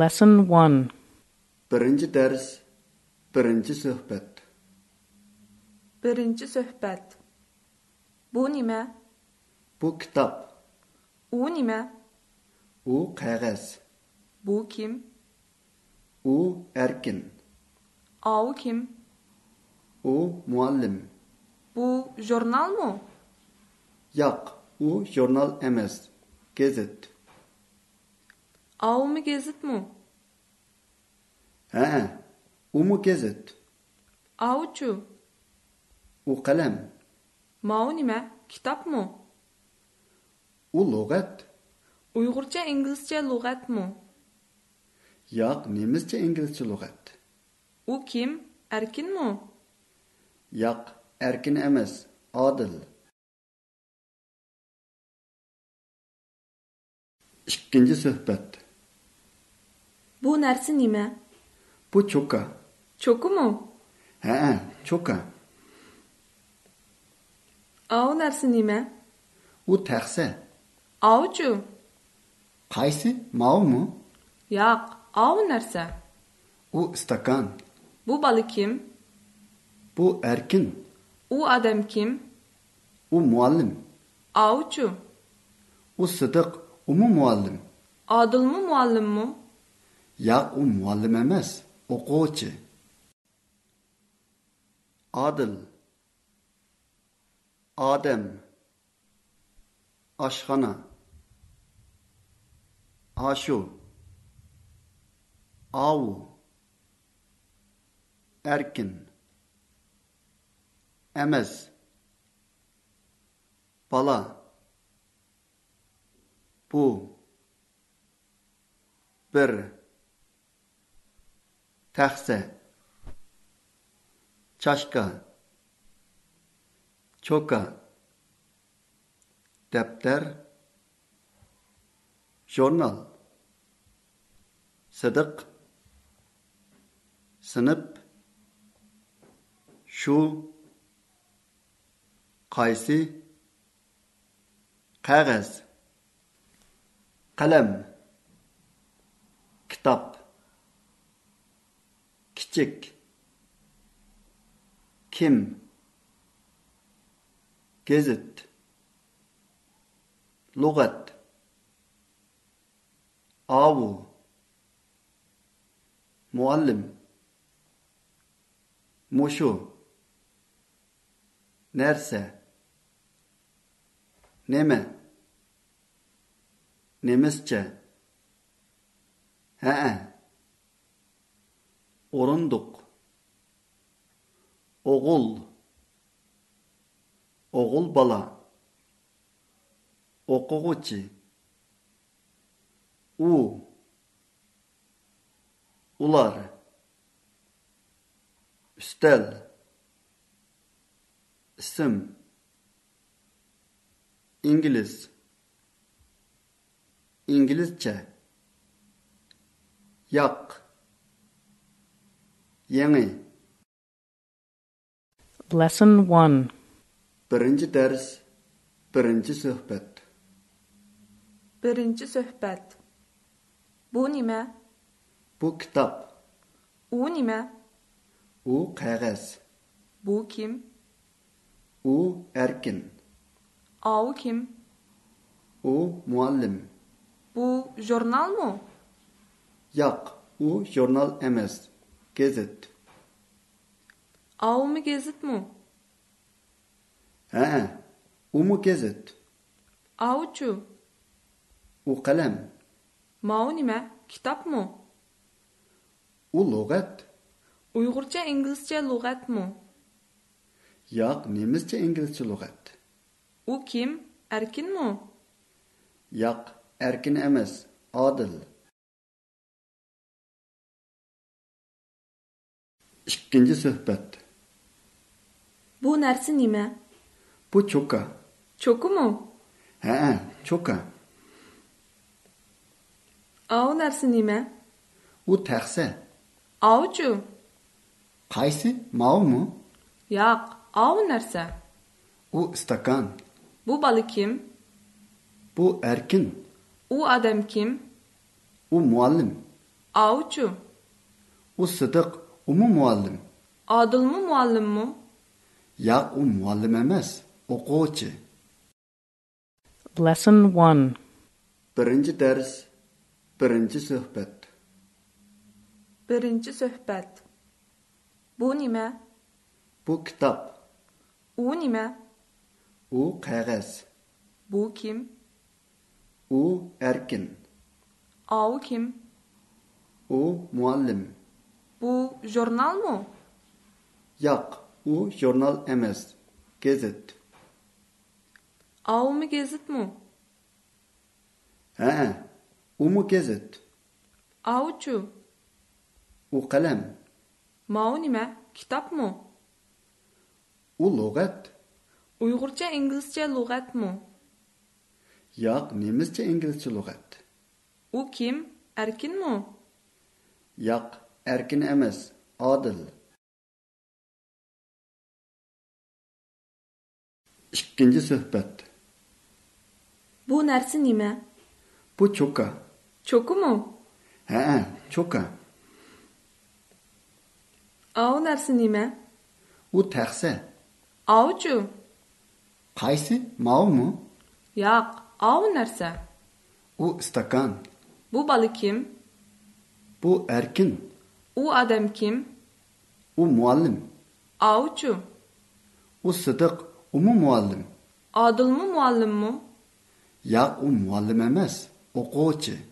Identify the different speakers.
Speaker 1: Lesson 1
Speaker 2: Birinci dərs, birinci söhbət.
Speaker 3: Birinci söhbət. Bu nimə?
Speaker 2: Bu kitab,
Speaker 3: U nimə?
Speaker 2: u qəğəz,
Speaker 3: Bu kim?
Speaker 2: u ərkin,
Speaker 3: A u kim?
Speaker 2: u muallim.
Speaker 3: Bu jurnalmı?
Speaker 2: Yaq, u jurnal emas, gazet.
Speaker 3: A u mu gezitmi?
Speaker 2: Hə, u mu gazet,
Speaker 3: A u çu?
Speaker 2: u qələm,
Speaker 3: Ma u nimə? Kitap mı?
Speaker 2: u lüğət.
Speaker 3: Uygurca İngilizce lüğət mı?
Speaker 2: Yaq, nemizcə ingiliscə lüğət.
Speaker 3: U kim? Erkin mi?
Speaker 2: Yaq, ərkin emas, adil. İkinci söhbət.
Speaker 3: Bu nersi nimə?
Speaker 2: Bu çoka.
Speaker 3: Çoku mu?
Speaker 2: Hə, çoka.
Speaker 3: A u nersi nimə?
Speaker 2: U təxsə.
Speaker 3: A u çu?
Speaker 2: Qaysi? Mav mu?
Speaker 3: Yaq. A u nersi?
Speaker 2: U stakan.
Speaker 3: Bu balı kim?
Speaker 2: Bu erkin.
Speaker 3: U adam kim?
Speaker 2: U muallim.
Speaker 3: A u çu?
Speaker 2: U sıdık. U mu muallim?
Speaker 3: Adıl mı muallim mi?
Speaker 2: Ya u muallim emas. O'quvchi. Adil. Adam. Ashxona. Ashu. Av. Erkin. Emas. Bala. Bu. Bir. Taxta. Çaşka. Çoka. Defter. Jurnal. Sıdık. Sınıp. Şu. Kaysi. Kağız. Kalem. kitap kiçik kim gezit lügat avu muallim muşu nerse neme nemisçe He. Orunduk. Oğul. Oğul bala. Okuguchi. U. Ular. Üstel. İsim. İngiliz. İngilizce. Yak. Yeni.
Speaker 1: Lesson 1
Speaker 2: Birinci ders, birinci söhbət.
Speaker 3: Birinci söhbət. Bu nimə?
Speaker 2: Bu kitap,
Speaker 3: U nimə?
Speaker 2: u qağız,
Speaker 3: Bu kim?
Speaker 2: u erkin,
Speaker 3: A u kim?
Speaker 2: u muallim.
Speaker 3: Bu jurnal mı?
Speaker 2: Yak, u jurnal emas, gazet.
Speaker 3: A u mu gezit mi?
Speaker 2: He, u mu gazet,
Speaker 3: A u çu?
Speaker 2: u kalem,
Speaker 3: Ma u nimə? Kitap mı?
Speaker 2: u lügat.
Speaker 3: Uygurca İngilizce lüğət mı?
Speaker 2: Yak, nemizce İngilizce lügat.
Speaker 3: U kim? Erkin mi?
Speaker 2: Yak, erkin emas, adil. İkinci söhbət.
Speaker 3: Bu nersi nimə?
Speaker 2: Bu çoka.
Speaker 3: Çoku mu?
Speaker 2: He, çoka.
Speaker 3: A u nersi nimə?
Speaker 2: U taxsa.
Speaker 3: A u çu?
Speaker 2: Qaysi? Mav mu?
Speaker 3: Yaq. A u nersi?
Speaker 2: U stakan.
Speaker 3: Bu balı kim?
Speaker 2: Bu erkin.
Speaker 3: U adam kim?
Speaker 2: U muallim.
Speaker 3: Avuçu.
Speaker 2: والصدق أمو معلم
Speaker 3: Adıl mı muallim mu?
Speaker 2: يا أم معلم أمس أقوتي
Speaker 1: Lesson 1.
Speaker 2: برنج درس برنج صحبت
Speaker 3: Birinci söhbət. Bu nime?
Speaker 2: Bu kitap
Speaker 3: U nime?
Speaker 2: U kağız
Speaker 3: Bu kim?
Speaker 2: U erkin
Speaker 3: Au kim?
Speaker 2: U muallim
Speaker 3: Bu jurnal mu?
Speaker 2: Yak U jurnal emes Gezet
Speaker 3: Au mu gezit mu?
Speaker 2: He U mu gezet
Speaker 3: Avuçu.
Speaker 2: U kalem
Speaker 3: Mau nime? Kitap mu?
Speaker 2: U logat
Speaker 3: Uygurca İngilizce lügat mu?
Speaker 2: Yak Nemizce İngilizce logat
Speaker 3: U kim? Erkin mu?
Speaker 2: Yak erkin emes Adil İkinci sohbet
Speaker 3: Bu nersi nime?
Speaker 2: Bu çoka
Speaker 3: Çoku mu?
Speaker 2: He çoka
Speaker 3: Au nersi nime?
Speaker 2: U tahsa
Speaker 3: Avuçu.
Speaker 2: Qaysi mav mu?
Speaker 3: Yaq, au nerse?
Speaker 2: U istakan.
Speaker 3: Bu balı kim?
Speaker 2: Bu erkin.
Speaker 3: U adam kim?
Speaker 2: U muallim.
Speaker 3: Avuçu.
Speaker 2: U sidiq. U mu muallim?
Speaker 3: Adıl mı muallim mu?
Speaker 2: Ya u muallim emas. O'quvchi.